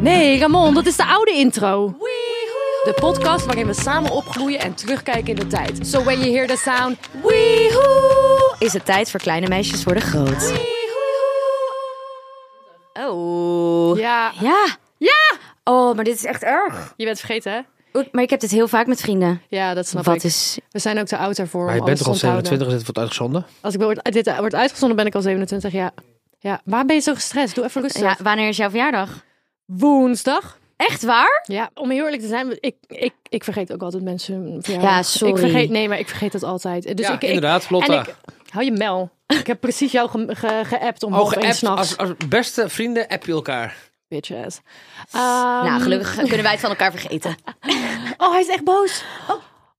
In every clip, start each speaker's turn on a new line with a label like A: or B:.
A: Nee, Ramon, dat is de oude intro. De podcast waarin we samen opgroeien en terugkijken in de tijd. So when you hear the sound, weehoe,
B: is het tijd voor kleine meisjes worden groot. Oh.
A: Ja.
B: Ja.
A: Ja!
B: Oh, maar dit is echt erg.
A: Je bent vergeten, hè?
B: Oei, Maar ik heb dit heel vaak met vrienden.
A: Ja, dat snap ik.
B: Wat is...
A: We zijn ook te oud daarvoor.
C: Maar je
A: om
C: bent toch al
A: alles te onthouden.
C: 27, dus het wordt uitgezonden.
A: Als ik word, dit eh, wordt uitgezonden, ben ik al 27, ja. Ja, waarom ben je zo gestrest? Doe even rustig.
B: Ja, wanneer is jouw verjaardag?
A: Woensdag.
B: Echt waar?
A: Ja, om heel eerlijk te zijn, ik, ik, ik vergeet ook altijd mensen. verjaardag.
B: Ja, sorry.
A: Ik vergeet, nee, maar ik vergeet dat altijd. Dus
C: ja,
A: ik, ik-
C: inderdaad, Lotta.
A: en ik, hou je mel. Ik heb precies jou ge- ge- geappt om
C: Oh,
A: half één
C: geappt.
A: s'nachts.
C: Als, als beste vrienden app je elkaar.
A: Bitches. Ehm.
B: nou, gelukkig kunnen wij het van elkaar vergeten.
A: Oh, hij is echt boos. Oh,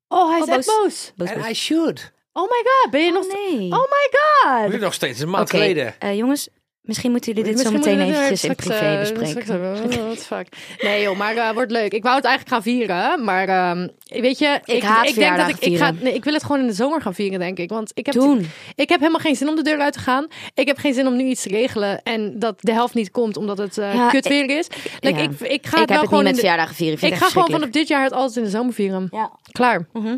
A: oh hij is
B: Oh,
A: echt
B: boos.
A: boos.
C: En I should.
A: Oh my god, ben je nog... st-
B: nee.
A: Oh my god.
C: Nu nog steeds, een maand
B: Oké,
C: geleden.
B: eh, jongens, misschien moeten jullie dit
A: Misschien
B: zo meteen
A: moeten we dit
B: eventjes in
A: straks,
B: privé
A: eh,
B: bespreken.
A: straks hebben. Oh, What the fuck. Nee joh, maar eh, wordt leuk. Ik wou het eigenlijk gaan vieren, maar ehm, weet je... Ik,
B: haat
A: ik denk dat ik,
B: verjaardagen
A: ik, ga,
B: vieren.
A: nee, ik wil het gewoon in de zomer gaan vieren, denk ik. Want ik heb,
B: Doen.
A: ik heb helemaal geen zin om de deur uit te gaan. Ik heb geen zin om nu iets te regelen en dat de helft niet komt omdat het eh,
B: Ja,
A: kut
B: ik-
A: weer is. Like,
B: ja.
A: ik, ik ga
B: Ik
A: het wel
B: heb het niet
A: gewoon in
B: met
A: de-
B: verjaardagen vieren.
A: Ik ga gewoon vanaf dit jaar het altijd in de zomer vieren.
B: Ja.
A: Klaar.
B: Mhm.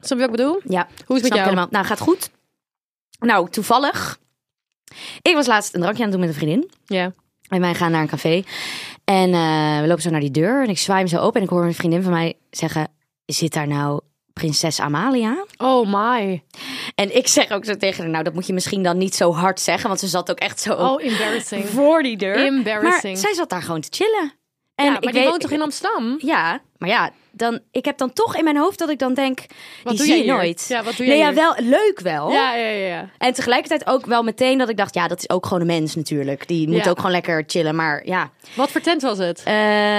A: Snap je wat ik bedoel?
B: Ja,
A: Hoe is het met
B: Snap ik
A: jou?
B: helemaal. Nou, gaat goed. Nou, toevallig. Nou, Ik was laatst een drankje aan het doen met een vriendin.
A: Ja.
B: En wij gaan naar een café. En eh, we lopen zo naar die deur. En ik zwaai hem zo open. En ik hoor een vriendin van mij zeggen... Zit daar nou prinses Amalia?
A: Oh my.
B: En ik zeg ook zo tegen haar... Nou, dat moet je misschien dan niet zo hard zeggen. Want ze zat ook echt zo
A: Oh, embarrassing.
B: voor die deur.
A: Embarrassing.
B: Maar zij zat daar gewoon te chillen. En
A: ja,
B: ik
A: maar die
B: weet-
A: woont toch in Amsterdam?
B: Ja, maar ja, dan, ik heb dan toch in mijn hoofd dat ik dan denk...
A: doe
B: die zie
A: jij
B: je
A: hier?
B: nooit.
A: Ja, wat doe
B: nee,
A: jij
B: ja,
A: hier?
B: wel, leuk wel.
A: Ja, ja, ja, ja.
B: En tegelijkertijd ook wel meteen dat ik dacht, ja, dat is ook gewoon een mens natuurlijk. Die moet
A: Ja.
B: ook gewoon lekker chillen. Maar ja,
A: Wat voor tent was het?
B: Eh,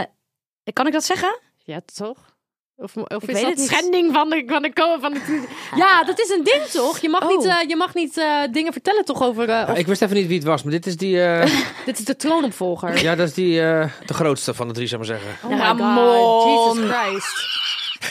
B: kan ik dat zeggen?
A: Ja, toch? Of, of
B: Ik
A: is
B: weet
A: dat
B: het niet.
A: schending van de, van de ko- van de... Ja, dat is een ding toch? Je mag
B: Oh.
A: niet, eh, je mag niet eh, dingen vertellen toch over... eh,
C: Ja,
A: of-
C: ik wist even niet wie het was, maar dit is die... eh,
A: Dit is de troonopvolger.
C: ja, dat is die eh, de grootste van de drie, zou ik maar zeggen.
A: Oh my god,
B: Ramon.
A: Jesus Christ.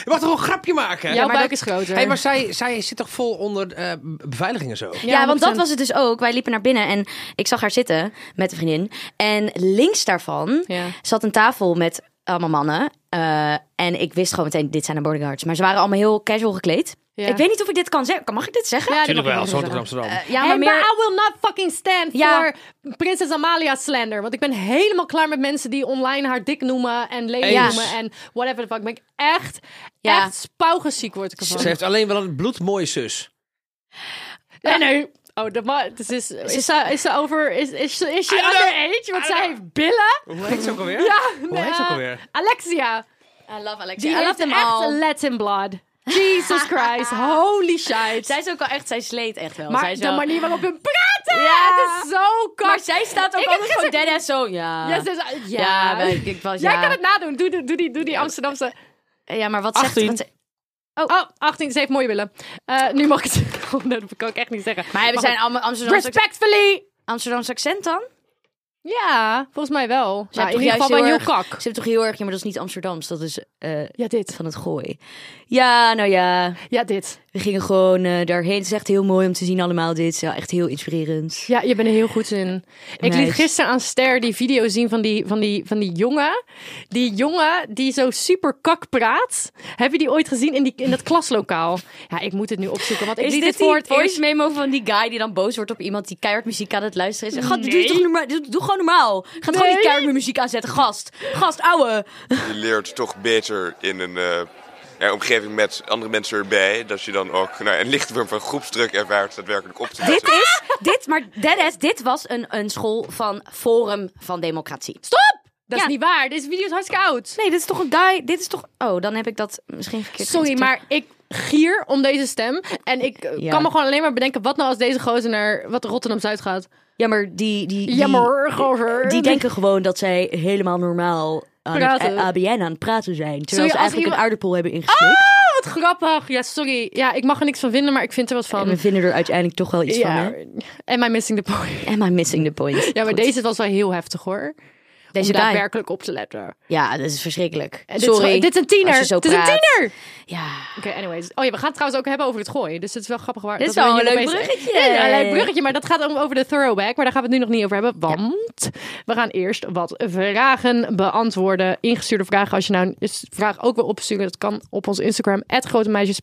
C: Je mag toch wel een grapje maken?
A: Jouw
B: maar
A: buik
B: dat-
A: is groter.
C: Hey, maar zij, zij zit toch vol onder eh, beveiliging en zo?
B: Ja, want dat was het dus ook. Wij liepen naar binnen en ik zag haar zitten met een vriendin. En links daarvan
A: Ja.
B: zat een tafel met allemaal mannen. Eh, en ik wist gewoon meteen, dit zijn de bodyguards. Maar ze waren allemaal heel casual gekleed.
A: Ja.
B: Ik weet niet of ik dit kan zeggen. Mag ik dit zeggen?
A: Ja, dat mag
C: Natuurlijk
A: je
C: wel,
A: niet
C: zo in
A: zeggen. Eh,
C: Amsterdam.
B: Ja,
A: en, maar I will not fucking stand
B: Ja.
A: voor prinses Amalia slander. Want ik ben helemaal klaar met mensen die online haar dik noemen en lelijk
C: Eens.
A: noemen en whatever the fuck. Ben ik echt,
B: Ja.
A: echt spouwgeziek word ik ervan.
C: Ze heeft alleen wel een bloedmooie zus.
A: Nee, nee. Oh, dat ma- dus is, is, ze, is ze over... Is, is, ze- is
C: I
A: she
C: don't
A: underage? Want zij heeft billen.
C: Hoe heet ze ook alweer?
A: Ja.
C: Hoe heet ze ook alweer?
A: Alexia.
B: I love Alexia.
A: Die
B: I love
A: heeft
B: them
A: echt
B: all.
A: Latin blood. Jesus Christ. Holy shit.
B: Zij is ook al echt, zij sleet echt wel. zij
A: maar
B: is
A: de
B: wel-
A: manier waarop hun praten.
B: Ja.
A: Het is zo kort.
B: maar zij staat ook
A: Ik heb
B: altijd gewoon
A: gisteren-
B: dead ass zo. Ja,
A: Ja, ze is- ja.
B: Ah. Ja, maar ik- ik was-
A: Jij
B: ja.
A: kan het nadoen. Doe, doe, doe, die, doe die Amsterdamse.
B: ja maar wat
C: 18.
B: zegt... Wat,
A: Oh, 18. Ze heeft mooie willen. Eh, nu mag ik het. Oh, nee, dat kan ik echt niet zeggen.
B: Maar we
A: Mag
B: zijn
A: ik-
B: allemaal Amsterdamse,
A: Respectfully.
B: Amsterdamse accent dan?
A: Ja, volgens mij wel.
B: Ze hebben
A: Nou, in
B: toch
A: ieder
B: juist
A: geval wel heel
B: erg-
A: kak.
B: Ze hebben toch heel erg... Ja, maar dat is niet Amsterdams. Dat is eh,
A: Ja, dit.
B: van het gooi. Ja, nou ja.
A: Ja, dit.
B: We gingen gewoon eh, daarheen. Het is echt heel mooi om te zien allemaal dit. Het is echt heel inspirerend.
A: Ja, je bent er heel goed in. Ik liet
B: Meid.
A: gisteren aan Ster die video zien van die, van die, van die jongen. Die jongen die zo super kak praat. Heb je die ooit gezien in, die, in dat klaslokaal? Ja, ik moet het nu opzoeken, want ik
B: Is
A: liet
B: dit,
A: het voor
B: voor
A: het
B: voice
A: eerst...
B: memo van die guy die dan boos wordt op iemand die keihard muziek aan het luisteren is? Gat, doe,
A: Nee.
B: toch normaal, doe, doe gewoon normaal. Ga het gewoon
A: Nee.
B: niet keihard met muziek aanzetten. Gast. Gast, ouwe.
D: je leert toch beter in een eh, ja, omgeving met andere mensen erbij. Dat je dan ook nou, een lichte vorm van groepsdruk ervaart daadwerkelijk op te
B: Dit
D: letten.
B: is, dit, maar deadass, dit was een, een school van Forum van Democratie.
A: Stop! Dat
B: Ja.
A: is niet waar. Deze video is hartstikke oud.
B: Nee, dit is toch een guy, dit is toch... Oh, dan heb ik dat misschien verkeerd
A: Sorry,
B: geïnterpreteerd.
A: maar ik, gier om deze stem. En ik eh,
B: Ja.
A: kan me gewoon alleen maar bedenken, wat nou als deze gozer naar wat Rotterdam-Zuid gaat?
B: Ja, maar die... die, die
A: Jammer, gozer.
B: Die denken gewoon dat zij helemaal normaal aan het
A: Praten.
B: A- ABN aan het praten zijn. Terwijl
A: Sorry,
B: ze
A: als
B: eigenlijk
A: iemand-
B: een aardappel hebben ingeslikt.
A: Wat grappig. Ja, sorry. Ja, ik mag er niks van vinden, maar ik vind er wat
B: En
A: van.
B: we vinden er uiteindelijk toch wel iets van,
A: Ah! ja.
B: hè?
A: Am I missing the point?
B: Am I missing the point?
A: Ja, maar
B: Goed.
A: deze was wel heel heftig hoor.
B: Deze
A: om
B: guy.
A: daadwerkelijk op te letten.
B: Ja, dat is verschrikkelijk.
A: En Eh, Dit is,
B: Sorry.
A: gewoon- dit is een tiener.
B: als je zo
A: dit is een
B: praat.
A: tiener.
B: Ja.
A: Oké, anyways. Oh ja, we gaan het trouwens ook hebben over het gooien. Dus het is wel grappig waar.
B: Dit is
A: dat we
B: wel
A: hier
B: een leuk
A: opeens-
B: bruggetje.
A: Dit is een leuk bruggetje, maar dat gaat om over de throwback. Maar daar gaan we het nu nog niet over hebben. Want we gaan eerst wat vragen beantwoorden. Ingestuurde vragen. Als je nou een s- vraag ook wil opsturen, dat kan op ons Instagram. @grotemeisjes.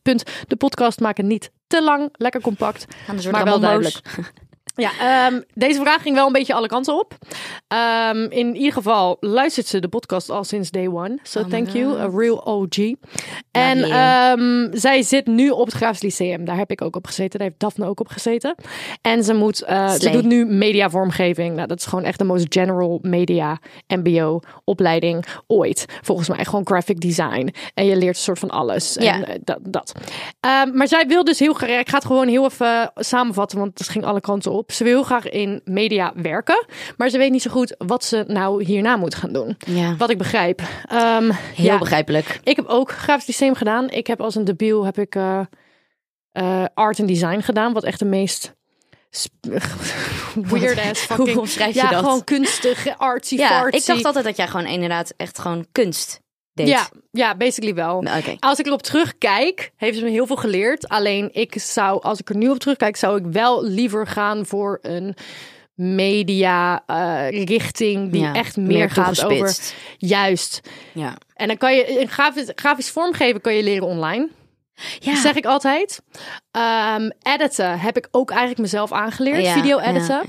A: De podcast maken niet te lang. Lekker compact.
B: Anders
A: Maar
B: wordt
A: wel
B: wel dus duidelijk.
A: Ja, ehm, deze vraag ging wel een beetje alle kanten op. Ehm, in ieder geval luistert ze de podcast al sinds day one. So
B: Oh my
A: thank you,
B: God. eh,
A: a real OG. en
B: yeah.
A: ehm, zij zit nu op het Graafs Lyceum. Daar heb ik ook op gezeten. Daar heeft Daphne ook op gezeten. En ze, moet, eh, ze
B: Slay.
A: doet nu mediavormgeving. Nou, dat is gewoon echt de most general media mbo opleiding ooit. Volgens mij gewoon graphic design. En je leert een soort van alles.
B: Ja.
A: En, eh, dat. dat. Ehm, maar zij wil dus heel graag. Ik ga het gewoon heel even eh, samenvatten, want het ging alle kanten op. Ze wil heel graag in media werken, maar ze weet niet zo goed wat ze nou hierna moet gaan doen.
B: Ja.
A: Wat ik begrijp. Ehm,
B: Heel
A: ja,
B: begrijpelijk.
A: ik heb ook grafisch systeem gedaan. Ik heb als een debiel heb ik eh, eh, art en design gedaan, wat echt de meest sp- weird ass fucking.
B: Hoe omschrijf je
A: ja,
B: dat?
A: gewoon kunstig, artsy,
B: ja, ik
A: fartsy.
B: dacht altijd dat jij gewoon inderdaad echt gewoon kunst deed.
A: Ja, ja, basically wel.
B: Oké.
A: Als ik erop terugkijk, heeft ze me heel veel geleerd. Alleen ik zou, als ik er nu op terugkijk, zou ik wel liever gaan voor een media eh, richting die
B: Ja,
A: echt meer, gaat over
B: toegespitst.
A: juist.
B: Ja.
A: En dan kan je in grafisch, grafisch vormgeven kan je leren online.
B: Ja.
A: Zeg ik altijd. Ehm, editen heb ik ook eigenlijk mezelf aangeleerd.
B: Ja,
A: Video
B: ja,
A: editen.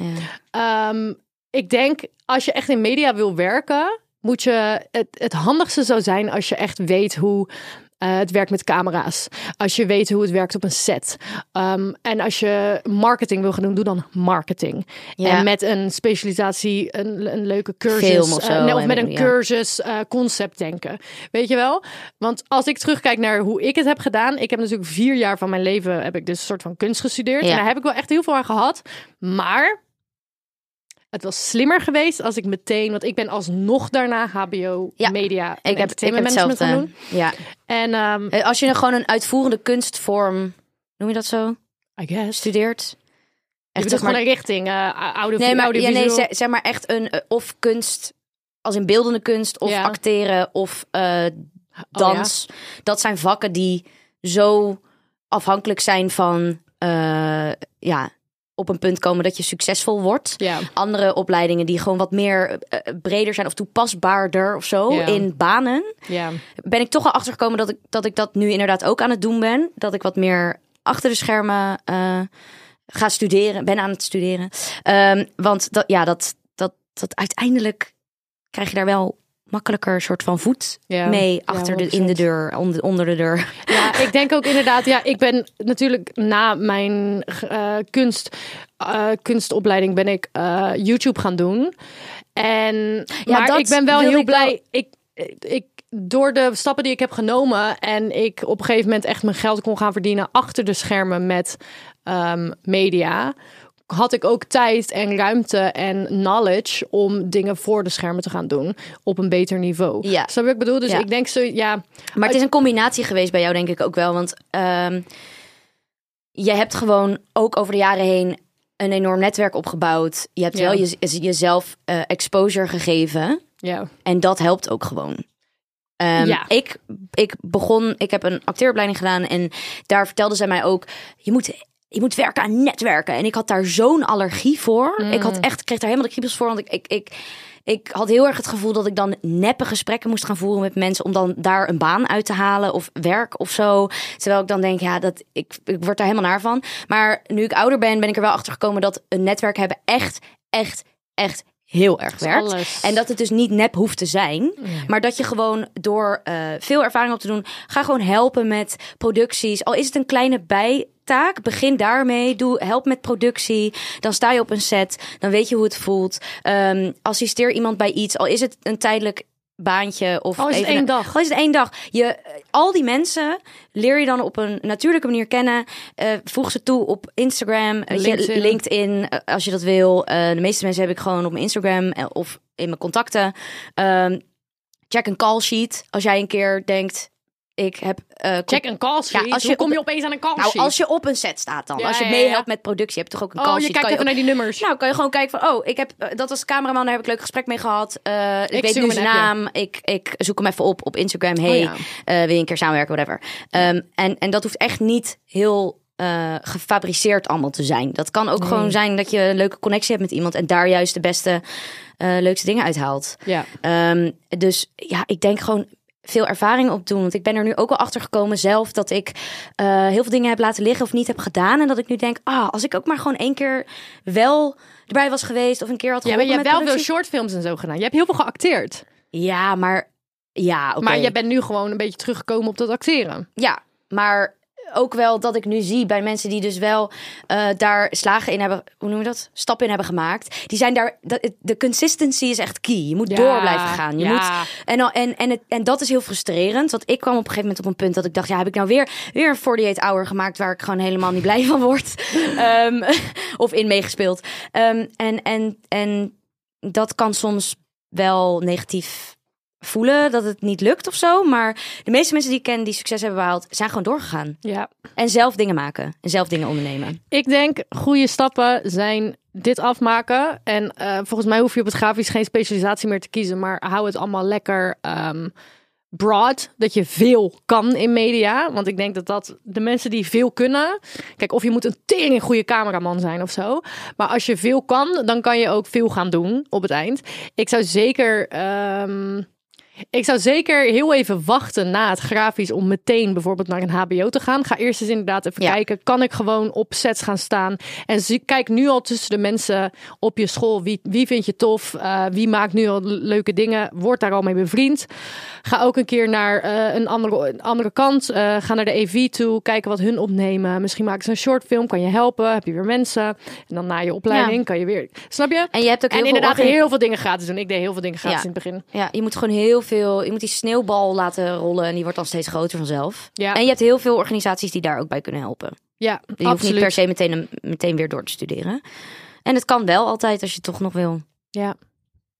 B: ja.
A: Ehm, ik denk, als je echt in media wil werken, moet je het, het handigste zou zijn als je echt weet hoe eh, het werkt met camera's. Als je weet hoe het werkt op een set. Ehm, en als je marketing wil gaan doen, doe dan marketing.
B: Ja.
A: En met een specialisatie, een, een leuke cursus.
B: Film of
A: eh,
B: zo,
A: nee, of
B: en-
A: met een
B: ja.
A: cursus eh, concept denken. Weet je wel? Want als ik terugkijk naar hoe ik het heb gedaan. Ik heb natuurlijk vier jaar van mijn leven, heb ik dus een soort van kunst gestudeerd.
B: Ja.
A: En daar heb ik wel echt heel veel aan gehad. Maar het was slimmer geweest als ik meteen, want ik ben alsnog daarna HBO
B: Ja,
A: media en
B: Ik heb, ik heb
A: entertainment management gaan
B: hetzelfde.
A: doen.
B: Ja.
A: En ehm,
B: Eh, Als je nou gewoon een uitvoerende kunstvorm, noem je dat zo,
A: I guess. Je
B: studeert.
A: bedoelt
B: zeg
A: gewoon
B: maar-
A: een richting eh oude
B: nee, maar, ja,
A: audiovisueel.
B: nee, zeg, zeg maar echt een eh, of kunst, als in beeldende kunst, of
A: Ja. Oh,
B: acteren, of eh, dans. Dat zijn vakken die zo afhankelijk zijn van, eh, ja, op een punt komen dat je succesvol wordt.
A: Ja.
B: Andere opleidingen die gewoon wat meer eh, breder zijn of toepasbaarder of zo
A: Ja.
B: in banen.
A: ja.
B: ben ik toch al achtergekomen dat ik, dat ik dat nu inderdaad ook aan het doen ben. Dat ik wat meer achter de schermen eh, ga studeren, ben aan het studeren. Ehm, want dat, ja, dat, dat, dat uiteindelijk krijg je daar wel makkelijker soort van voet
A: Ja.
B: mee
A: Ja,
B: achter de, in de
A: 100%.
B: deur, onder, onder de deur.
A: Ja, ik denk ook inderdaad. Ja, ik ben natuurlijk na mijn eh, kunst, eh, kunstopleiding ben ik eh, YouTube gaan doen. En
B: Ja,
A: maar
B: dat
A: ik ben wel
B: wilde
A: heel
B: ik
A: blij. Ik, ik, door de stappen die ik heb genomen en ik op een gegeven moment echt mijn geld kon gaan verdienen achter de schermen met ehm, media. Had ik ook tijd en ruimte en knowledge om dingen voor de schermen te gaan doen op een beter niveau.
B: Ja.
A: Snap je wat ik bedoel? Dus
B: Ja.
A: ik denk zo, ja,
B: Maar het is een combinatie geweest bij jou, denk ik ook wel. Want ehm, je hebt gewoon ook over de jaren heen een enorm netwerk opgebouwd. Je hebt
A: Ja.
B: wel je, jezelf eh, exposure gegeven.
A: ja,
B: En dat helpt ook gewoon. Ehm,
A: Ja.
B: ik, ik begon, ik heb een acteeropleiding gedaan en daar vertelde zij mij ook, je moet, je moet werken aan netwerken. En ik had daar zo'n allergie voor. Ik had echt, ik kreeg daar helemaal de kriebels voor, want ik, ik, ik, ik had heel erg het gevoel dat ik dan neppe gesprekken moest gaan voeren met mensen om dan daar een baan uit te halen of werk of zo. Terwijl ik dan denk, ja, dat, ik, ik word daar helemaal naar van. Maar nu ik ouder ben, ben ik er wel achter gekomen dat een netwerk hebben echt, echt, echt heel erg werkt.
A: alles.
B: En dat dat het dus niet nep hoeft te zijn. Maar dat je gewoon door eh, veel ervaring op te doen, ga gewoon helpen met producties. Al is het een kleine bijtaak, begin daarmee. Doe help met productie. Dan sta je op een set, dan weet je hoe het voelt. Ehm, assisteer iemand bij iets, al is het een tijdelijk baantje. Of
A: Al is het
B: even
A: één
B: een-
A: dag.
B: Al is het één dag. Je, eh, al die mensen leer je dan op een natuurlijke manier kennen. Eh, voeg ze toe op Instagram, weet je,
A: LinkedIn.
B: LinkedIn, eh, als je dat wil. Eh, de meeste mensen heb ik gewoon op mijn Instagram eh, of in mijn contacten. Ehm, check een call sheet. Als jij een keer denkt, ik heb... eh,
A: Check een call sheet.
B: als je
A: Hoe kom
B: op-
A: je opeens aan een call
B: nou,
A: sheet?
B: als je op een set staat dan.
A: Ja,
B: als je
A: ja,
B: meehelpt
A: ja.
B: met productie, heb je toch ook een
A: oh,
B: call
A: je
B: sheet.
A: kijkt
B: Kan
A: even
B: ook-
A: naar die nummers.
B: nou, kan je gewoon kijken van, oh, ik heb, eh, dat was cameraman, daar heb ik leuk gesprek mee gehad. Eh, ik,
A: Ik
B: weet
A: stuur
B: nu
A: hem
B: zijn
A: een appje. Oh
B: naam. Ik, ik zoek hem even op op Instagram. Hey,
A: ja.
B: eh, wil je een keer samenwerken, whatever. Ehm, en, en dat hoeft echt niet heel eh, gefabriceerd allemaal te zijn. Dat kan ook gewoon zijn dat je een leuke connectie hebt met iemand en daar juist de beste, eh, leukste dingen uithaalt.
A: ja.
B: Ehm, dus ja, ik denk gewoon veel ervaring op doen. Want ik ben er nu ook al achter gekomen zelf dat ik eh, heel veel dingen heb laten liggen of niet heb gedaan. En dat ik nu denk, ah, als ik ook maar gewoon één keer wel erbij was geweest of een keer had
A: ja, maar
B: geholpen
A: je hebt
B: met
A: wel veel
B: productie.
A: shortfilms en zo gedaan. Je hebt heel veel geacteerd.
B: Ja, maar ja, oké.
A: Maar je bent nu gewoon een beetje teruggekomen op dat acteren.
B: Ja, maar ook wel dat ik nu zie bij mensen die dus wel eh, daar slagen in hebben, hoe noem je dat? Stappen in hebben gemaakt. Die zijn daar, dat, het- de consistency is echt key. Je moet
A: Ja,
B: door blijven gaan. Je
A: ja.
B: moet, en, al- en, en, het, en dat is heel frustrerend. Want ik kwam op een gegeven moment op een punt dat ik dacht, ja, heb ik nou weer, weer een 48 hour gemaakt waar ik gewoon helemaal niet blij van word. Ehm, of in meegespeeld. Ehm, en, en, en dat kan soms wel negatief voelen dat het niet lukt of zo. Maar de meeste mensen die ik ken die succes hebben behaald, zijn gewoon doorgegaan.
A: Ja.
B: En zelf dingen maken. En zelf dingen ondernemen.
A: Ik denk goede stappen zijn dit afmaken. En eh, volgens mij hoef je op het grafisch geen specialisatie meer te kiezen. Maar hou het allemaal lekker ehm, broad. Dat je veel kan in media. Want ik denk dat dat de mensen die veel kunnen. Kijk, of je moet een tering goede cameraman zijn of zo. Maar als je veel kan, dan kan je ook veel gaan doen op het eind. Ik zou zeker. ehm, ik zou zeker heel even wachten na het grafisch om meteen bijvoorbeeld naar een HBO te gaan. Ga eerst eens inderdaad even
B: Ja.
A: kijken. Kan ik gewoon op sets gaan staan? En zie, kijk nu al tussen de mensen op je school. Wie, wie vind je tof? Eh, wie maakt nu al le- leuke dingen? Word daar al mee bevriend. Ga ook een keer naar eh, een, andere, een andere kant. Eh, ga naar de EV toe. Kijken wat hun opnemen. Misschien maken ze een shortfilm. Kan je helpen? Heb je weer mensen? En dan na je opleiding
B: Ja.
A: kan je weer. Snap je?
B: En je hebt ook heel
A: en
B: veel
A: inderdaad
B: orga-
A: heel veel dingen gratis doen. Ik deed heel veel dingen gratis
B: Ja.
A: in het begin.
B: Ja, je moet gewoon heel veel. Je moet die sneeuwbal laten rollen. En die wordt dan steeds groter vanzelf.
A: Ja.
B: En je hebt heel veel organisaties die daar ook bij kunnen helpen.
A: Ja,
B: Je hoeft niet per se meteen, meteen weer door te studeren. En het kan wel altijd als je het toch nog wil.
A: Ja.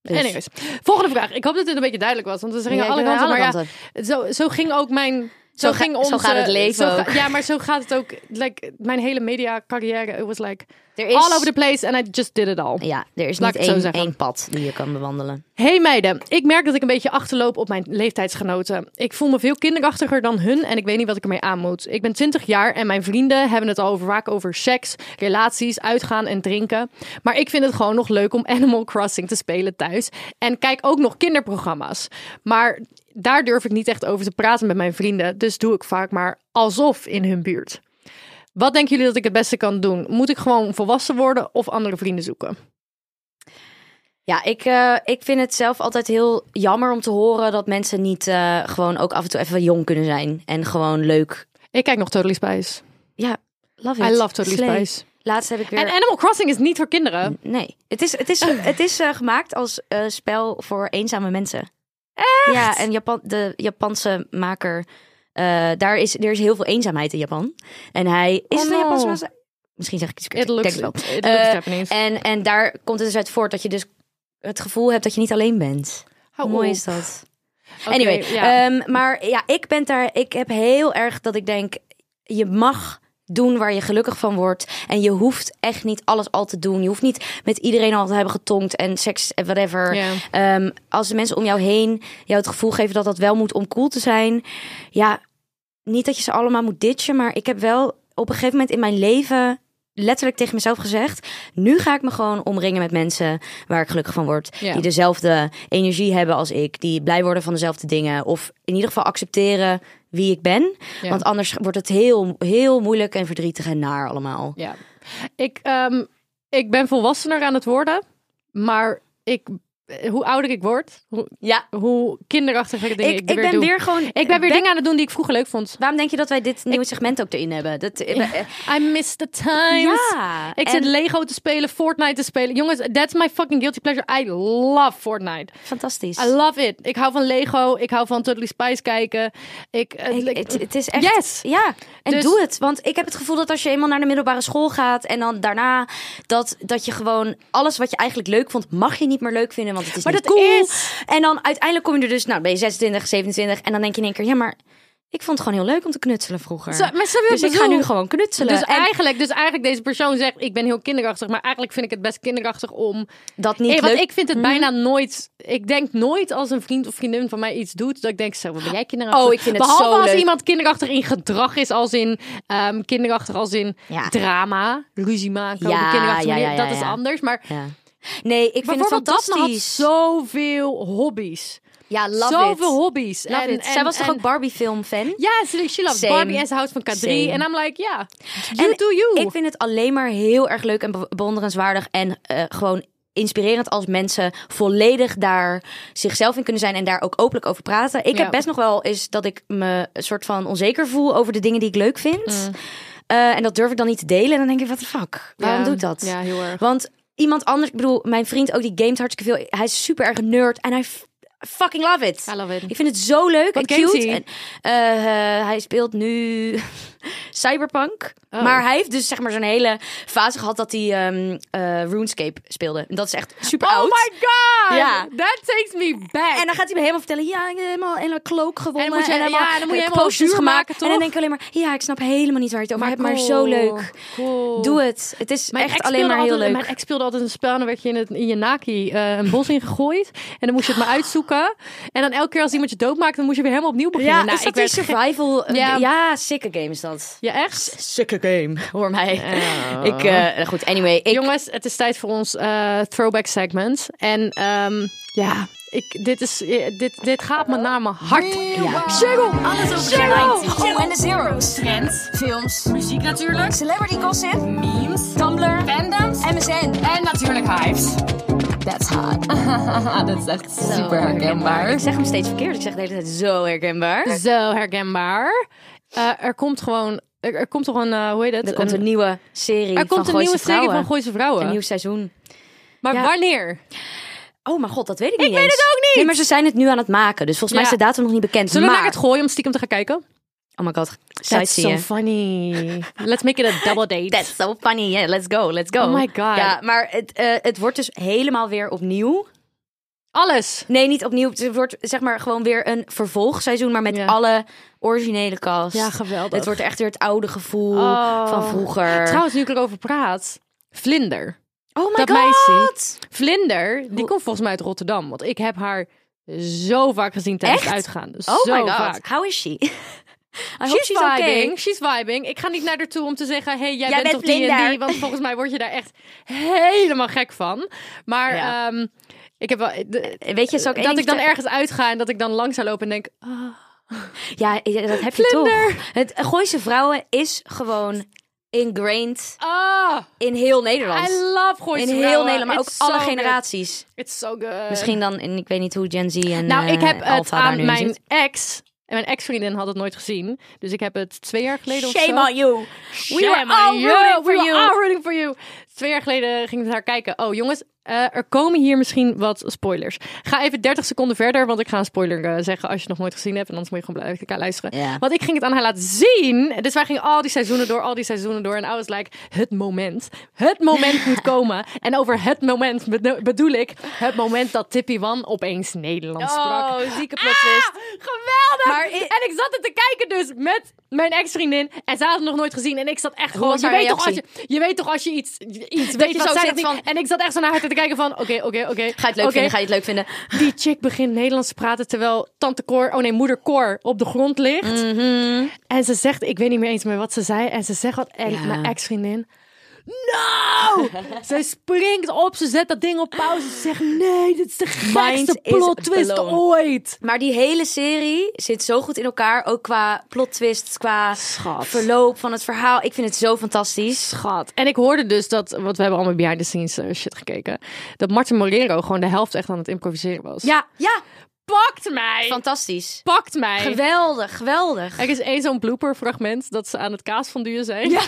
B: Dus.
A: Anyways, volgende vraag. Ik hoop dat dit een beetje duidelijk was, want we gingen
B: Ja,
A: alle
B: ik ben
A: kanten. Maar
B: alle
A: ja, zo, zo ging ook mijn. Zo,
B: Zo ga-
A: ging
B: zo
A: onze,
B: gaat het leven
A: zo ga-
B: ook.
A: ja, maar zo gaat het ook. Like, mijn hele media carrière, it was like
B: Er is,
A: all over the place and I just did it all.
B: Ja, er is
A: Laat ik
B: niet
A: het zo
B: één,
A: zeggen.
B: één pad die je kan bewandelen.
A: Hey meiden, ik merk dat ik een beetje achterloop op mijn leeftijdsgenoten. Ik voel me veel kinderachtiger dan hun en ik weet niet wat ik ermee aan moet. Ik ben 20 jaar en mijn vrienden hebben het al over, vaak over seks, relaties, uitgaan en drinken. Maar ik vind het gewoon nog leuk om Animal Crossing te spelen thuis. En kijk ook nog kinderprogramma's. Maar daar durf ik niet echt over te praten met mijn vrienden. Dus doe ik vaak maar alsof in hun buurt. Wat denken jullie dat ik het beste kan doen? Moet ik gewoon volwassen worden of andere vrienden zoeken?
B: Ja, ik, eh, ik vind het zelf altijd heel jammer om te horen dat mensen niet eh, gewoon ook af en toe even jong kunnen zijn. En gewoon leuk.
A: Ik kijk nog Totally Spice.
B: Ja, love it.
A: I love Totally
B: Slay.
A: Spice.
B: Laatst heb ik weer...
A: En Animal Crossing is niet voor kinderen.
B: Nee, het is, het is,
A: Oh.
B: het is eh, gemaakt als eh, spel voor eenzame mensen. Ja, en Japan, de Japanse maker, eh, daar is, er is heel veel eenzaamheid in Japan. En hij is
A: Oh
B: het een
A: no.
B: Japanse maker? Misschien zeg ik iets verkeerd.
A: It looks,
B: ik denk het wel.
A: it looks
B: Eh,
A: Japanese.
B: en, en daar komt het dus uit voort dat je dus het gevoel hebt dat je niet alleen bent.
A: Hou
B: Mooi
A: op.
B: is dat.
A: Oké,
B: Anyway,
A: ja.
B: ehm, maar ja, ik ben daar. Ik heb heel erg dat ik denk: je mag doen waar je gelukkig van wordt. En je hoeft echt niet alles al te doen. Je hoeft niet met iedereen al te hebben getongd en seks en whatever.
A: Ja.
B: Ehm, als de mensen om jou heen jou het gevoel geven dat dat wel moet om cool te zijn. Ja, niet dat je ze allemaal moet ditchen, maar ik heb wel op een gegeven moment in mijn leven letterlijk tegen mezelf gezegd: nu ga ik me gewoon omringen met mensen waar ik gelukkig van word,
A: Ja.
B: die dezelfde energie hebben als ik, die blij worden van dezelfde dingen, of in ieder geval accepteren wie ik ben,
A: Ja.
B: want anders wordt het heel, heel moeilijk en verdrietig en naar allemaal.
A: ja. Ik, ehm, ik ben volwassener aan het worden, maar ik eh, hoe ouder ik word, hoe,
B: Ja.
A: hoe kinderachtiger dingen ik,
B: Ik, ik
A: er weer
B: ben
A: doe.
B: weer gewoon...
A: ik ben weer dingen aan het doen die ik vroeger leuk vond.
B: Waarom denk je dat wij dit nieuwe segment ook erin hebben? Dat, eh,
A: I miss the times.
B: ja.
A: Ik
B: en-
A: zit Lego te spelen, Fortnite te spelen. Jongens, that's my fucking guilty pleasure. I love Fortnite.
B: Fantastisch.
A: I love it. Ik hou van Lego. Ik hou van Totally Spies kijken. Ik, eh,
B: Ik-
A: ik-
B: het, het is echt.
A: Yes.
B: Ja, en
A: Dus-
B: doe het. Want ik heb het gevoel dat als je eenmaal naar de middelbare school gaat en dan daarna dat, dat je gewoon alles wat je eigenlijk leuk vond, mag je niet meer leuk vinden. Want het is
A: Maar
B: niet
A: dat
B: cool.
A: is-
B: En dan uiteindelijk kom je er dus, nou ben je 26, 27 en dan denk je in één keer, ja, maar ik vond het gewoon heel leuk om te knutselen vroeger.
A: Zo- maar snap je wat
B: dus
A: ik
B: ik ga
A: bedoel?
B: nu gewoon knutselen.
A: dus,
B: en
A: eigenlijk, dus eigenlijk deze persoon zegt, ik ben heel kinderachtig. Maar eigenlijk vind ik het best kinderachtig om...
B: dat niet
A: Eh, want
B: leuk. Mhm.
A: ik vind het bijna nooit... Ik denk nooit als een vriend of vriendin van mij iets doet... dat ik denk, zo, wat ben jij kinderachtig?
B: Oh, ik vind het
A: Behalve
B: zo
A: als
B: leuk.
A: iemand kinderachtig in gedrag is. Als in ehm, kinderachtig, als in
B: Ja.
A: drama. Ruzie maken op
B: Ja,
A: een kinderachtige
B: ja, ja,
A: manier.
B: ja,
A: dat is
B: ja.
A: anders. Maar
B: Ja. Nee, ik vind het
A: bijvoorbeeld Daphne had
B: fantastisch.
A: zoveel hobby's.
B: Ja, love
A: zoveel
B: it.
A: hobby's.
B: Love
A: en,
B: it.
A: en-
B: Zij was toch
A: en-
B: ook Barbie film fan?
A: Ja, ze she loves
B: Same.
A: Barbie en ze houdt van K3.
B: Same.
A: En I'm like, ja, you
B: En
A: do you.
B: Ik vind het alleen maar heel erg leuk en be- bewonderenswaardig. En eh, gewoon inspirerend als mensen volledig daar zichzelf in kunnen zijn en daar ook openlijk over praten. Ik
A: Ja.
B: heb best nog wel eens dat ik me een soort van onzeker voel over de dingen die ik leuk vind.
A: Mm.
B: Eh, en dat durf ik dan niet te delen. En dan denk ik, wat de fuck? Waarom
A: Ja.
B: doe ik dat?
A: Ja, heel erg.
B: Want iemand anders, ik bedoel, mijn vriend ook, die gamet hartstikke veel. Hij is super erg een nerd en hij f- fucking love it.
A: I love it.
B: Ik vind het zo leuk
A: Wat
B: en
A: gamet
B: cute.
A: hij?
B: En, eh, eh, hij speelt nu Cyberpunk.
A: Oh.
B: Maar hij heeft dus zeg maar zo'n hele fase gehad dat hij ehm, eh, RuneScape speelde. En dat is echt super
A: Oh
B: oud.
A: my god!
B: Ja.
A: That takes me back.
B: En dan gaat hij me helemaal vertellen, ja, ik heb helemaal een cloak gewonnen.
A: En dan moet je-
B: helemaal,
A: ja, en dan moet je
B: eh,
A: helemaal
B: potions
A: zuur
B: gemaakt.
A: maken,
B: En
A: toch?
B: dan denk ik alleen maar, ja, ik snap helemaal niet waar je het over hebt, maar zo
A: cool,
B: leuk.
A: cool.
B: Doe het. Het is
A: Mijn
B: echt
A: ex
B: alleen
A: speelde
B: maar heel
A: altijd-
B: leuk.
A: Mijn ex speelde altijd een spel en dan werd je in, het, in je naki eh, een bos ingegooid. En dan moest je het maar uitzoeken. En dan elke keer als iemand je doodmaakte, dan moest je weer helemaal opnieuw beginnen.
B: ja,
A: Nou,
B: is dat
A: ik werd
B: die survival?
A: Ja.
B: Ja. ja, sikke game is dat.
A: ge- Ja, echt?
B: Sikke game. Hoor mij. Ik, eh, goed, anyway. Ik,
A: Jongens, het is tijd voor ons eh, throwback segment. En ehm, ja, ik, dit, is, eh, dit, dit gaat me naar mijn hart. Ja.
E: Alles over de 90s. Oh, en de zeros. Trends, films, muziek natuurlijk. Celebrity gossip, memes, Tumblr, fandoms, MSN en natuurlijk hypes. That's hot. Dat is echt super herkenbaar.
B: ik zeg hem steeds verkeerd. Ik zeg de hele tijd zo herkenbaar.
A: Zo herkenbaar. Eh, er komt gewoon, er, er komt toch een, eh, hoe heet het?
B: Er komt een nieuwe serie
A: er komt
B: van
A: een nieuwe
B: Gooise
A: serie
B: Vrouwen.
A: van Gooise Vrouwen.
B: Een nieuw seizoen.
A: Maar
B: Ja.
A: wanneer?
B: Oh mijn god, dat weet ik niet
A: weet
B: eens.
A: het ook niet.
B: Nee, maar ze zijn het nu aan het maken. Dus volgens mij
A: Ja.
B: is de datum nog niet bekend.
A: Zullen we
B: maar...
A: naar het gooien om stiekem te gaan kijken?
B: Oh my god,
A: That's so
B: sightseeing.
A: funny. Let's make it a double date.
B: That's so funny. Yeah, let's go, let's go.
A: Oh my god.
B: Ja, maar het, eh, het wordt dus helemaal weer opnieuw.
A: Alles.
B: Nee, niet opnieuw. Het wordt zeg maar gewoon weer een vervolgseizoen, maar met
A: Ja.
B: alle originele cast.
A: Ja, geweldig.
B: Het wordt echt weer het oude gevoel
A: Oh.
B: van vroeger.
A: Trouwens, nu ik erover praat. Vlinder.
B: oh my
A: dat
B: god.
A: meisje. Vlinder, die komt volgens mij uit Rotterdam. Want ik heb haar zo vaak gezien tijdens het
B: Echt?
A: uitgaan.
B: Oh
A: zo
B: my god.
A: vaak.
B: How is she? I hope
A: She's,
B: she's
A: vibing,
B: okay.
A: she's vibing. Ik ga niet naar haar toe om te zeggen... hey, jij,
B: Jij
A: bent
B: bent
A: toch die en die?
B: Vlinder.
A: Want volgens mij word je daar echt helemaal gek van. Maar
B: Ja.
A: ehm, ik heb wel... de-
B: Weet je, zou
A: dat
B: ik één ding
A: ik dan
B: vertellen?
A: ergens uitga en dat ik dan langs zou lopen en denk... ah,
B: Ja, ja, dat heb je
A: Vlinder.
B: toch. Het Gooise vrouwen is gewoon ingrained
A: Ah,
B: in heel Nederland.
A: I love Gooise
B: in heel
A: Vrouwen.
B: Nederland, maar ook
A: It's
B: alle
A: so
B: generaties.
A: good. It's so good.
B: Misschien dan, in, ik weet niet hoe Gen Z en
A: Eh, Nou, ik
B: eh,
A: heb het
B: Alpha daar nu
A: aan
B: in
A: mijn
B: zit.
A: ex... En mijn ex-vriendin had het nooit gezien. Dus ik heb het twee jaar geleden of zo...
B: Shame on you.
A: We were all rooting for you. all rooting for you. Twee jaar geleden gingen we naar kijken. Oh jongens, eh, er komen hier misschien wat spoilers. Ga even 30 seconden verder, want ik ga een spoiler eh, zeggen als je het nog nooit gezien hebt. En anders moet je gewoon blijven kijken- luisteren.
B: Ja.
A: Want ik ging het aan haar laten zien. Dus wij gingen al die seizoenen door, al die seizoenen door. En I was like, het moment. Het moment moet komen. En over het moment bedo- bedoel ik het moment dat Tippy Wan opeens Nederlands sprak.
B: zieke
A: Ah, geweldig!
B: Maar
A: en
B: i-
A: ik zat het te kijken dus met mijn ex-vriendin. En zij had het nog nooit gezien. En ik zat echt gewoon...
B: was
A: Je
B: haar
A: weet, toch als je,
B: reactie?
A: je weet toch als je iets, iets weet
B: je
A: wat
B: zo
A: zij
B: zit
A: dat niet...
B: van-
A: En ik zat echt zo naar haar te kijken van... Oké, oké, oké.
B: Ga je het leuk
A: oké.
B: vinden? Ga je het leuk vinden?
A: Die chick begint Nederlands te praten terwijl tante Cor... Oh nee, moeder Cor op de grond ligt. En ze zegt... Ik weet niet meer eens meer wat ze zei. En ze zegt wat... En
B: Mhm. Ja.
A: mijn ex-vriendin... no! Zij springt op, ze zet dat ding op pauze. Ze zegt, nee, dit is de gekste
B: is
A: plot twist
B: blown.
A: ooit.
B: Maar die hele serie zit zo goed in elkaar. Ook qua plot twist, qua
A: Schat.
B: verloop van het verhaal. Ik vind het zo fantastisch.
A: Schat. En ik hoorde dus dat, want we hebben allemaal behind the scenes eh, shit gekeken, dat Martin Morero gewoon de helft echt aan het improviseren was.
B: Ja, ja,
A: pakt mij!
B: fantastisch.
A: pakt mij!
B: Geweldig, geweldig.
A: Er is één zo'n blooper fragment dat ze aan het kaasfonduur zijn.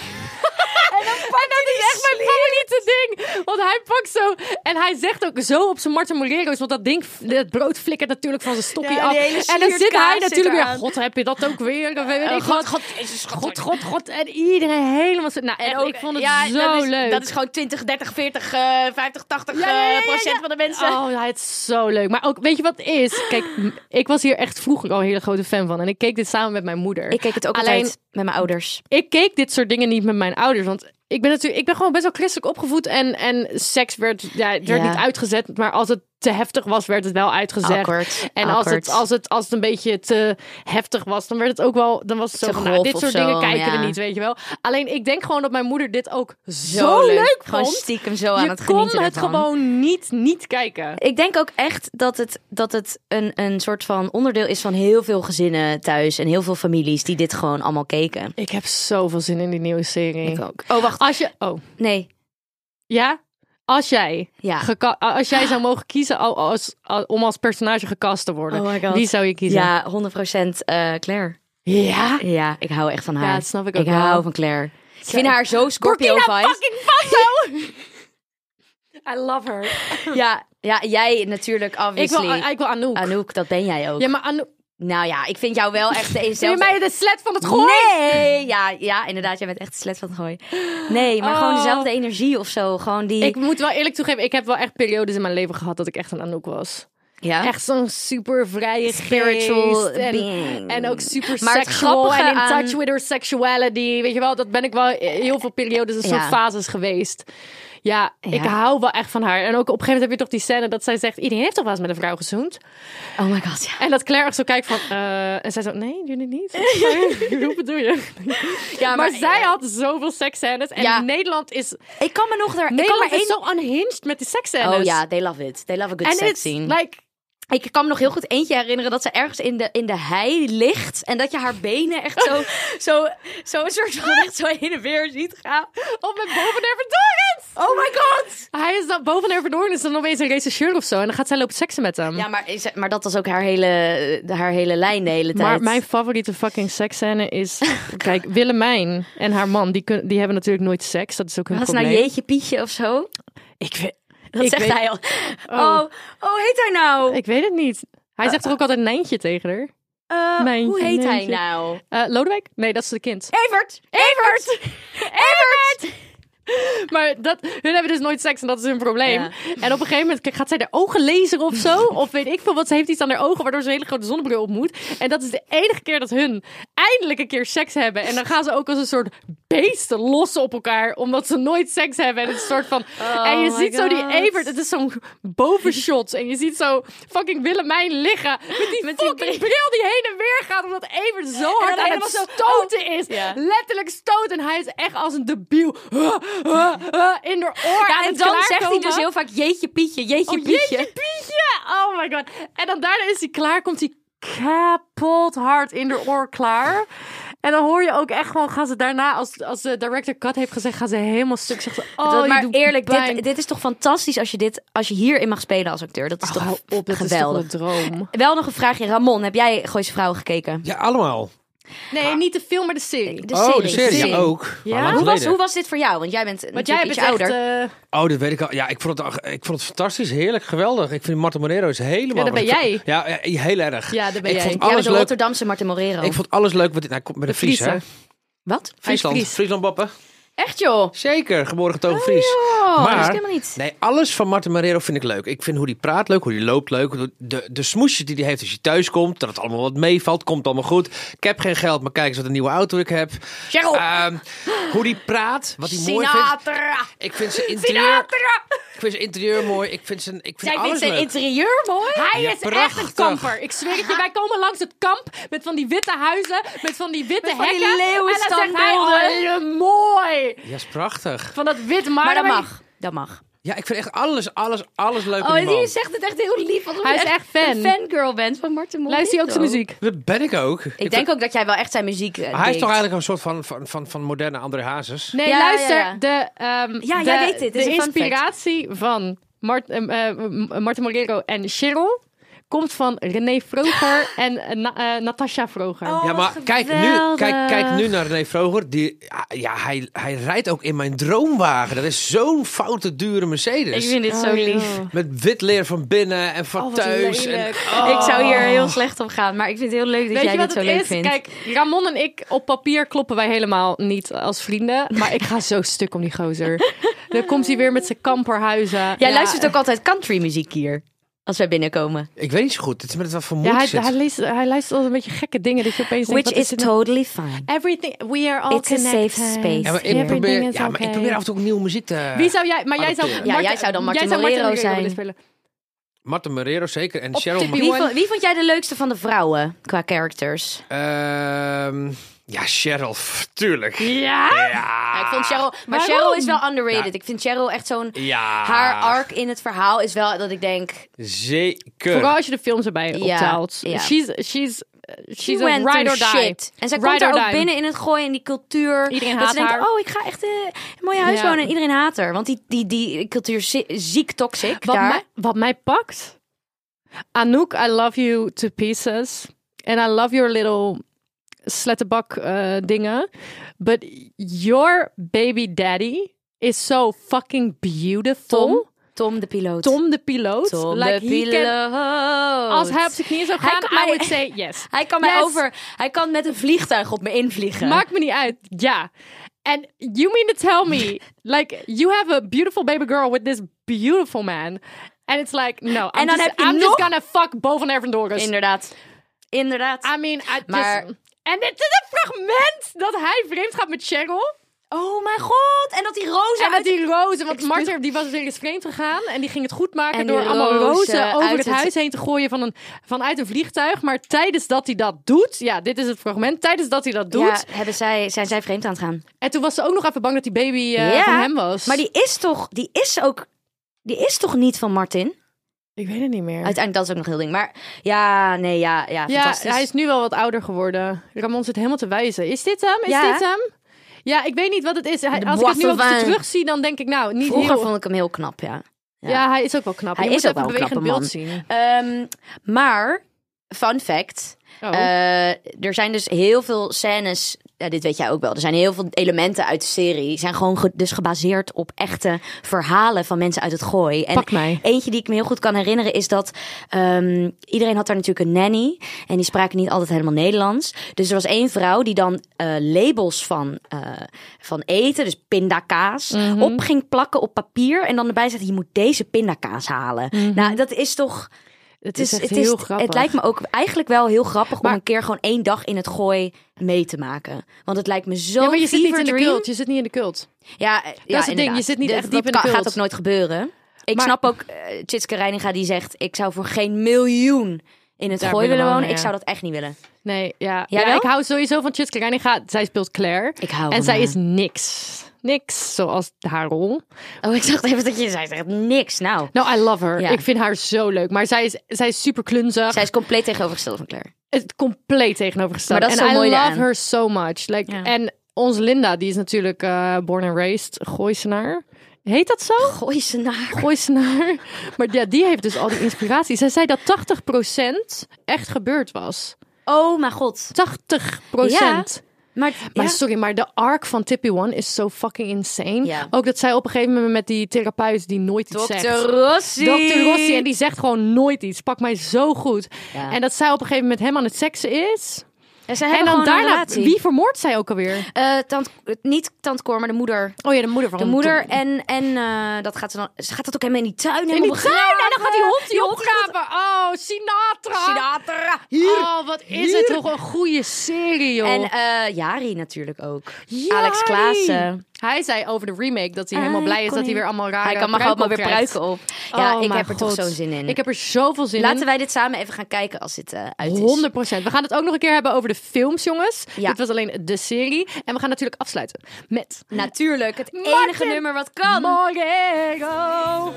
B: Ja.
A: Maar dat is echt mijn favoriete ding. Want hij pakt zo... En hij zegt ook zo op zijn Martin Morero's... Want dat ding, dat brood flikkert natuurlijk van zijn stokje
B: Ja, die
A: af.
B: hele
A: En dan
B: slierkaas
A: zit hij
B: zit
A: natuurlijk weer...
B: eraan.
A: God, heb je dat ook weer? Of weet
B: Oh,
A: ik god, god, god, god, god. En iedereen helemaal... zo- Nou, echt, ik vond het
F: ja,
A: zo
F: dat is,
A: leuk.
F: Dat is gewoon 20, 30, 40, eh 50, 80 eh, procent van de mensen.
A: Oh, ja, het is zo leuk. Maar ook, weet je wat het is? Kijk, m- ik was hier echt vroeger al een hele grote fan van. En ik keek dit samen met mijn moeder.
B: Ik keek het ook
A: Alleen-
B: altijd met mijn ouders.
A: ik keek dit soort dingen niet met mijn ouders. Want ik ben natuurlijk, ik ben gewoon best wel christelijk opgevoed. En, en seks werd, ja, het werd
B: Ja.
A: niet uitgezet. Maar als het te heftig was, werd het wel uitgezet.
B: Awkward,
A: En als
B: awkward.
A: het, als, het, als het een beetje te heftig was, dan werd het ook wel. Dan was het zo
B: Te
A: van, nou,
B: grof
A: dit
B: of
A: soort
B: zo,
A: dingen kijken
B: ja.
A: we niet, weet je wel. Alleen ik denk gewoon dat mijn moeder dit ook zo, leuk,
B: Gewoon
A: vond.
B: stiekem zo aan
A: Je
B: het
A: kon
B: genieten
A: het
B: ervan.
A: gewoon niet, niet kijken.
B: Ik denk ook echt dat het, dat het een, een soort van onderdeel is van heel veel gezinnen thuis. En heel veel families die dit gewoon allemaal keken.
A: Ik heb zoveel zin in die nieuwe serie.
B: Ik ook. Oh, wacht.
A: Als je, oh,
B: Nee,
A: ja? Als jij
B: ja.
A: Geka- als jij zou mogen kiezen al- als, al- om als personage gecast te worden,
B: Oh my god.
A: wie zou je kiezen?
B: Ja, 100% procent eh, Claire.
A: ja?
B: Ja, ik hou echt van haar.
A: Ja, dat snap ik ook
B: Ik
A: wel.
B: hou van Claire. Ik vind haar zo
A: Burkina
B: Scorpio-vibes.
A: I love her.
B: Ja, ja, jij natuurlijk,
A: Ik wil,
B: obviously.
A: ik wil Anouk.
B: Anouk, dat ben jij ook.
A: Ja, maar Anouk.
B: Nou ja, ik vind jou wel echt de
A: Wil je
B: eenzelfde...
A: mij de slet van het gooi?
B: Nee! Ja, ja, inderdaad, jij bent echt de slet van het gooi. Nee, maar gewoon
A: Oh.
B: dezelfde energie of zo. Gewoon die...
A: Ik moet wel eerlijk toegeven, ik heb wel echt periodes in mijn leven gehad dat ik echt een Anouk was.
B: ja.
A: Echt zo'n super vrije
B: Spiritual
A: geest en,
B: being.
A: En ook super
B: Maar het
A: sexual en
B: grappige
A: in
B: aan-
A: touch with her sexuality. Weet je wel, dat ben ik wel heel veel periodes een
B: Ja.
A: soort fases geweest. Ja, ik
B: Ja.
A: hou wel echt van haar. En ook op een gegeven moment heb je toch die scène dat zij zegt... iedereen heeft toch wel eens met een vrouw gezoend?
B: Oh my god, ja.
A: En dat Claire echt zo kijkt van... eh, en zij zo, nee, jullie niet? Hoe bedoel je?
B: ja
A: maar zij had zoveel seksscènes. En
B: Ja.
A: Nederland is,
B: Ik kan me nog daar... Ik kan
A: Nederland
B: maar
A: is
B: één...
A: zo unhinged met die seksscènes.
B: Oh ja, they love it. They love a
A: En
B: good sex
A: it's
B: scene.
A: like...
B: Ik kan me nog heel goed eentje herinneren dat ze ergens in de, in de hei ligt. En dat je haar benen echt zo, zo, zo een soort van echt zo heen en weer ziet gaan.
A: Of met boven der Verdorens!
B: Oh my god!
A: Hij is dan boven der Verdorens is dan opeens een regisseur of zo. En dan gaat zij lopen seksen met hem.
B: Ja, maar, is- maar dat was ook haar hele, haar hele lijn de hele tijd.
A: Maar mijn favoriete fucking seksscène is... Kijk, Willemijn en haar man, die, kun- die hebben natuurlijk nooit seks. Dat is ook hun
B: Was het
A: probleem.
B: nou Jeetje Pietje of zo?
A: Ik weet,
B: Dat
A: Ik
B: zegt
A: weet-
B: hij al. Oh. oh, heet hij nou?
A: ik weet het niet. Hij zegt er ook altijd Nijntje tegen haar.
B: Eh,
A: Mijntje,
B: hoe heet hij
A: mijntje.
B: nou?
A: Eh, Lodewijk? Nee, dat is de kind.
B: Evert! Evert! Evert!
A: Maar dat, hun hebben dus nooit seks en dat is hun probleem.
B: Ja.
A: En op een gegeven moment gaat zij haar ogen laseren of zo. Of weet ik veel wat. Ze heeft iets aan haar ogen waardoor ze een hele grote zonnebril op moet. En dat is de enige keer dat hun eindelijk een keer seks hebben. En dan gaan ze ook als een soort beesten lossen op elkaar. Omdat ze nooit seks hebben. En het is een soort van... en je
B: Oh my
A: ziet zo die
B: God.
A: Evert. Het is zo'n bovenshot. En je ziet zo fucking Willemijn liggen. Met die fucking bril die heen en weer gaat. Omdat Evert zo hard
B: dan
A: aan
B: helemaal
A: het
B: zo, oh,
A: stoten is.
B: Ja.
A: Letterlijk stoten. En hij is echt als een debiel. huh, huh, huh, in haar oor.
B: Ja,
A: aan
B: en
A: het
B: dan zegt hij
A: klaarkomen.
B: dus heel vaak Jeetje Pietje, Jeetje
A: Oh,
B: Pietje.
A: jeetje, Pietje. Oh my god. En dan daarna is hij klaar, komt hij kapot hard in de oor klaar. En dan hoor je ook echt gewoon, gaan ze daarna, als, als de director cut heeft gezegd, gaan ze helemaal stuk. Zegt ze, oh,
B: Dat-
A: je
B: maar
A: doet
B: eerlijk,
A: pijn.
B: dit, dit is toch fantastisch als je, dit, als je hierin mag spelen als acteur. Dat is
A: Oh, hou
B: toch
A: op, dat
B: geweldig.
A: is toch een droom.
B: Wel nog een vraagje. Ramon, heb jij Gooise Vrouwen gekeken?
C: Ja, allemaal.
A: Nee, niet de film, maar de serie.
B: De
C: oh, de serie
B: serie.
C: ja, ook.
A: Ja?
C: Maar lang
B: Hoe was,
C: geleden.
B: hoe was dit voor jou? Want jij bent
A: Want
B: natuurlijk
A: jij bent
B: iets
A: echt,
B: ouder.
A: eh,
C: Oh, dat weet ik al. Ja, ik vond het, ik vond het fantastisch, heerlijk, geweldig. Ik vind Marta Monero is helemaal...
A: Ja, dat ben
C: wat ik-
A: jij.
C: Ja, ja, heel erg.
A: Ja, dat ben
C: ik
A: jij.
C: Vond
B: jij bent
C: alles
B: de
C: leuk.
B: Rotterdamse Martin Morero.
C: Ik vond alles leuk. Wat, nou, hij komt met een Fries, hè?
A: Friese.
B: Wat?
C: Friesland.
A: Fries.
C: Friesland Bappen.
B: Echt joh?
C: Zeker, geboren getogen Fries.
B: Oh, dat is
C: maar,
B: helemaal niet.
C: nee, alles van Martin Marrero vind ik leuk. Ik vind hoe hij praat leuk, hoe hij loopt leuk. De, de smoesjes die hij heeft als je thuis komt, dat het allemaal wat meevalt, komt allemaal goed. Ik heb geen geld, maar kijk eens wat een nieuwe auto ik heb.
B: Cheryl.
C: Ehm, hoe hij praat, wat hij mooi vindt.
B: Sinatra!
C: Ik vind zijn interieur,
B: Sinatra!
C: ik vind zijn interieur mooi. Ik vind zijn, ik vind
B: Jij vindt
C: alles
B: zijn
C: leuk.
B: interieur mooi?
A: Hij
C: Ja,
A: is echt
C: prachtig.
A: een kamper. Ik zweer het je, wij komen langs het kamp met van die witte huizen, met van die witte
B: Met van die
A: hekken. en dan zegt hij,
B: leeuwenstandbeelden.
A: oh, eh, mooi. mooi.
C: Ja, is prachtig.
A: Van dat wit maar.
B: Maar dat mag. Dat mag.
C: Ja, ik vind echt alles, alles, alles leuk aan
B: Oh,
C: die man.
B: die zegt het echt heel lief. Alsof
A: Hij
B: je
A: is echt fan.
B: Een fangirl bent van Martin Mol.
A: Luister je ook zijn muziek?
C: Dat ben ik ook. Ik,
B: Ik
C: vind-
B: denk ook dat jij wel echt zijn muziek. eh,
C: Maar hij is
B: deed.
C: toch eigenlijk een soort van, van, van, van moderne André Hazes?
A: Nee,
B: Ja,
A: luister.
B: ja, ja.
A: De, ehm,
B: Ja,
A: de,
B: jij weet dit. Dit
A: de
B: is een fun
A: inspiratie van Mart, ehm, eh, Marten Morero en Cheryl komt van René Vroger en eh, Na- eh, Natasha Vroger.
B: Oh,
C: ja, maar
B: wat
C: kijk nu,
B: Mm, geweldig.
C: kijk, kijk nu naar René Vroger. Die, ja, ja, hij, hij rijdt ook in mijn droomwagen. Dat is zo'n foute, dure Mercedes.
B: Ik vind dit
C: Oh,
B: zo lief. Oh,
C: Met wit leer van binnen en van thuis. En,
B: Ik zou hier heel slecht op gaan, maar ik vind het heel leuk dat
A: Weet
B: jij
A: je wat
B: dit zo
A: het
B: leuk
A: is?
B: vindt.
A: Kijk, Ramon en ik op papier kloppen wij helemaal niet als vrienden. Maar ik ga zo stuk om die gozer. Dan komt hij weer met zijn kamperhuizen.
B: jij luistert ook altijd country muziek hier als wij binnenkomen.
C: ik weet niet zo goed. Het is met wat voor
A: Ja,
C: moed
A: hij,
C: zit.
A: hij, leest, hij luistert altijd een beetje gekke dingen. Dat je opeens denkt,
B: Which
A: wat
B: is
A: dit nou?
B: totally fine.
A: Everything, we are all
B: It's a safe
A: connected.
B: space.
C: ja, maar
A: Ja,
C: ik probeer,
A: is
C: ja, maar ik
A: oké.
C: probeer af en toe ook nieuwe muziek te...
A: Wie zou jij... Maar jij zou,
C: Adopteren.
B: Ja,
A: Marten-
B: jij zou dan Martin
A: jij zou Martin
B: Molero
A: Molero
B: zijn.
A: willen spelen.
C: Marten Marrero zeker. En
A: Op
C: Cheryl...
A: tippie.
B: Wie,
A: One.
B: vond, wie vond jij de leukste van de vrouwen qua characters?
C: Ma- ehm, ja, Cheryl. pff, Tuurlijk.
A: Ja?
C: Ja.
B: Ja, ik vond Cheryl, maar
A: Waarom?
B: Cheryl is wel underrated.
C: Ja.
B: Ik vind Cheryl echt zo'n.
C: Ja.
B: Haar arc in het verhaal is wel dat ik denk.
C: Zeker.
A: Vooral als je de films erbij
B: Ja,
A: optelt.
B: ja.
A: She's, she's, she's
B: She
A: a
B: went
A: ride or
B: through
A: die.
B: shit. En zij
A: Ride
B: komt
A: or
B: daar ook
A: die.
B: binnen in het gooien in die cultuur.
A: Iedereen
B: dat
A: haat
B: ze denkt,
A: haar.
B: oh, ik ga echt eh, een mooie huis
A: Ja.
B: wonen. En iedereen haat haar. Want die, die, die cultuur is zi- ziek toxic
A: Wat,
B: daar.
A: mij, wat mij pakt? Anouk, I love you to pieces. And I love your little slettenbak eh, dingen. But your baby daddy is so fucking beautiful.
B: Tom? Tom de piloot.
A: Tom de piloot.
B: Tom
A: like
B: de
A: he
B: piloot.
A: can- als hij op zijn knieën zou
B: Hij
A: gaan,
B: kan-
A: I would
B: hij-
A: say yes.
B: Hij kan mij
A: Yes.
B: over. Hij kan met een vliegtuig op me invliegen.
A: Maakt me niet uit. Ja. And you mean to tell me, like, you have a beautiful baby girl with this beautiful man. And it's like, no, I'm,
B: En dan
A: just,
B: heb je
A: I'm
B: nog-
A: just gonna fuck boven Ervan Doris.
B: Inderdaad. Inderdaad.
A: I mean, I just...
B: Maar-
A: En dit is een fragment dat hij vreemd gaat met Cheryl.
B: oh mijn god. En dat die roze
A: En
B: uit
A: met die rozen, want Martin die was weer eens vreemd gegaan. En die ging het goed maken
B: En die
A: door allemaal
B: rozen
A: rozen over
B: uit
A: het,
B: het-
A: huis heen te gooien van een, vanuit een vliegtuig. Maar tijdens dat hij dat doet, ja, dit is het fragment. Tijdens dat hij dat doet.
B: Ja, hebben zij, zijn zij vreemd aan het gaan.
A: En toen was ze ook nog even bang dat die baby eh, van hem was.
B: Maar die is toch, die is ook, die is toch niet van Martin?
A: Ik weet het niet meer.
B: Uiteindelijk, dat is ook nog heel ding. Maar ja, nee, ja, ja,
A: Ja,
B: fantastisch.
A: hij is nu wel wat ouder geworden. Ramon zit helemaal te wijzen. Is dit hem? Is
B: Ja.
A: dit hem? Ja, ik weet niet wat het is. Hij,
B: De
A: als ik het nu ook
B: boissevain.
A: zo terugzie, dan denk ik nou, niet
B: Vroeger
A: heel...
B: vond ik hem heel knap, ja.
A: ja. hij is ook wel knap.
B: Hij
A: Je
B: is
A: moet
B: ook
A: even
B: wel een
A: bewegend
B: knappe
A: beeld zien.
B: man. Ehm, maar, fun fact.
A: Oh.
B: eh, er zijn dus heel veel scènes, ja, dit weet jij ook wel. Er zijn heel veel elementen uit de serie. Zijn gewoon ge- dus gebaseerd op echte verhalen van mensen uit het gooi. En
A: Pak mij.
B: Eentje die ik me heel goed kan herinneren is dat ehm, iedereen had daar natuurlijk een nanny. En die spraken niet altijd helemaal Nederlands. Dus er was één vrouw die dan eh, labels van, eh, van eten, dus pindakaas,
A: Mhm.
B: op ging plakken op papier. En dan erbij zegt, je moet deze pindakaas halen. Nou, dat is toch...
A: Mhm. Het
B: Het,
A: is
B: is,
A: echt
B: het, is,
A: heel grappig.
B: het lijkt me ook eigenlijk wel heel grappig
A: Maar-
B: om een keer gewoon één dag in het gooi mee te maken. Want het lijkt me zo
A: Ja, maar je zit niet in de
B: dream.
A: cult. Je zit niet in de cult.
B: Ja, eh, ja,
A: ding, je
B: inderdaad.
A: zit niet
B: Dat-
A: echt
B: dat
A: diep in de
B: kan-
A: cult.
B: gaat ook nooit gebeuren. Ik
A: Maar-
B: snap ook eh Tjitske Reininga die zegt... ik zou voor geen miljoen in het
A: Daar
B: gooi
A: willen
B: willen wonen.
A: wonen,
B: Ik
A: ja.
B: zou dat echt niet willen.
A: Nee, ja.
B: Jij
A: ja
B: wel?
A: ik hou sowieso van Chitske Reininga. Zij speelt Claire.
B: Ik hou
A: En
B: van
A: zij
B: haar.
A: is niks. Niks, zoals haar rol.
B: Oh, ik dacht even dat je zei zegt niks. Nou,
A: Nou, I love her.
B: Ja.
A: Ik vind haar zo leuk. Maar zij is, zij is super klunzig.
B: zij is compleet tegenovergesteld van Claire.
A: het compleet tegenovergesteld.
B: Maar dat is
A: en
B: zo
A: I
B: mooi
A: love
B: daaraan.
A: her so much. Like,
B: Ja.
A: En onze Linda, die is natuurlijk eh, born and raised Gooisenaar. Heet dat zo?
B: Gooi ze naar.
A: Gooisenaar. maar ja, die heeft dus al die inspiratie. zij zei dat 80% echt gebeurd was.
B: Oh, mijn god.
A: 80%.
B: Maar,
A: Maar
B: ja.
A: sorry, maar de arc van Tippy One is zo fucking insane.
B: Ja.
A: Ook dat zij op een gegeven moment met die therapeut die nooit iets zegt.
B: Dr. Rossi.
A: Dr. Rossi. En die zegt gewoon nooit iets. Pak mij zo goed.
B: Ja.
A: En dat zij op een gegeven moment hem aan het seksen is.
B: En, zij
A: En
B: hebben
A: dan
B: gewoon een
A: daarna,
B: relatie.
A: wie vermoordt zij ook alweer?
B: Eh, tant, niet Tant Cor, maar de moeder.
A: Oh ja, de moeder van
B: De moeder en, en eh, dat gaat ze dan. Ze gaat dat ook helemaal in die tuin.
A: in
B: helemaal
A: die tuin. En dan
B: begraven.
A: gaat die hond die
B: hond gaat-
A: opgraven. Oh, Sinatra.
B: Sinatra.
A: Hier, Oh, wat is het toch een goede serie, joh.
B: En eh, Jari natuurlijk ook.
A: Jari!
B: Alex Klaassen.
A: Hij zei over de remake dat hij helemaal
B: Ah,
A: blij is
B: kon
A: dat hij
B: niet.
A: weer allemaal rare
B: Hij kan mag ook maar weer
A: pruiken op
B: pruiken
A: krijgt.
B: op. Ja,
A: Oh,
B: ik
A: mijn
B: heb er toch
A: God.
B: zo'n zin in.
A: Ik heb er zoveel zin
B: Laten
A: in.
B: wij dit samen even gaan kijken als dit eh, uit is.
A: 100 We gaan het ook nog een keer hebben over de films, jongens.
B: Ja.
A: Dit was alleen de serie. En we gaan natuurlijk afsluiten met...
B: Natuurlijk, het enige
A: Martin
B: nummer wat kan.
A: Moreno.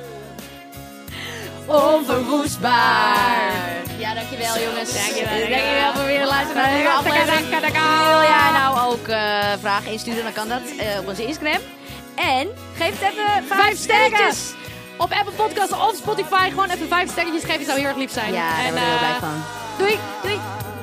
A: Onverwoestbaar.
B: Ja, dankjewel jongens.
F: Dankjewel.
B: Dankjewel voor weer luisteren naar de aflevering. Wil jij nou ook eh, vragen insturen, dan kan dat eh, op onze Instagram. En geef het even vijf sterretjes.
A: Op Apple Podcasts of Spotify gewoon even vijf sterretjes geven. Zou heel erg lief zijn.
B: Ja, daar
A: en,
B: ben ik heel
A: eh,
B: blij van.
A: Doei. Doei.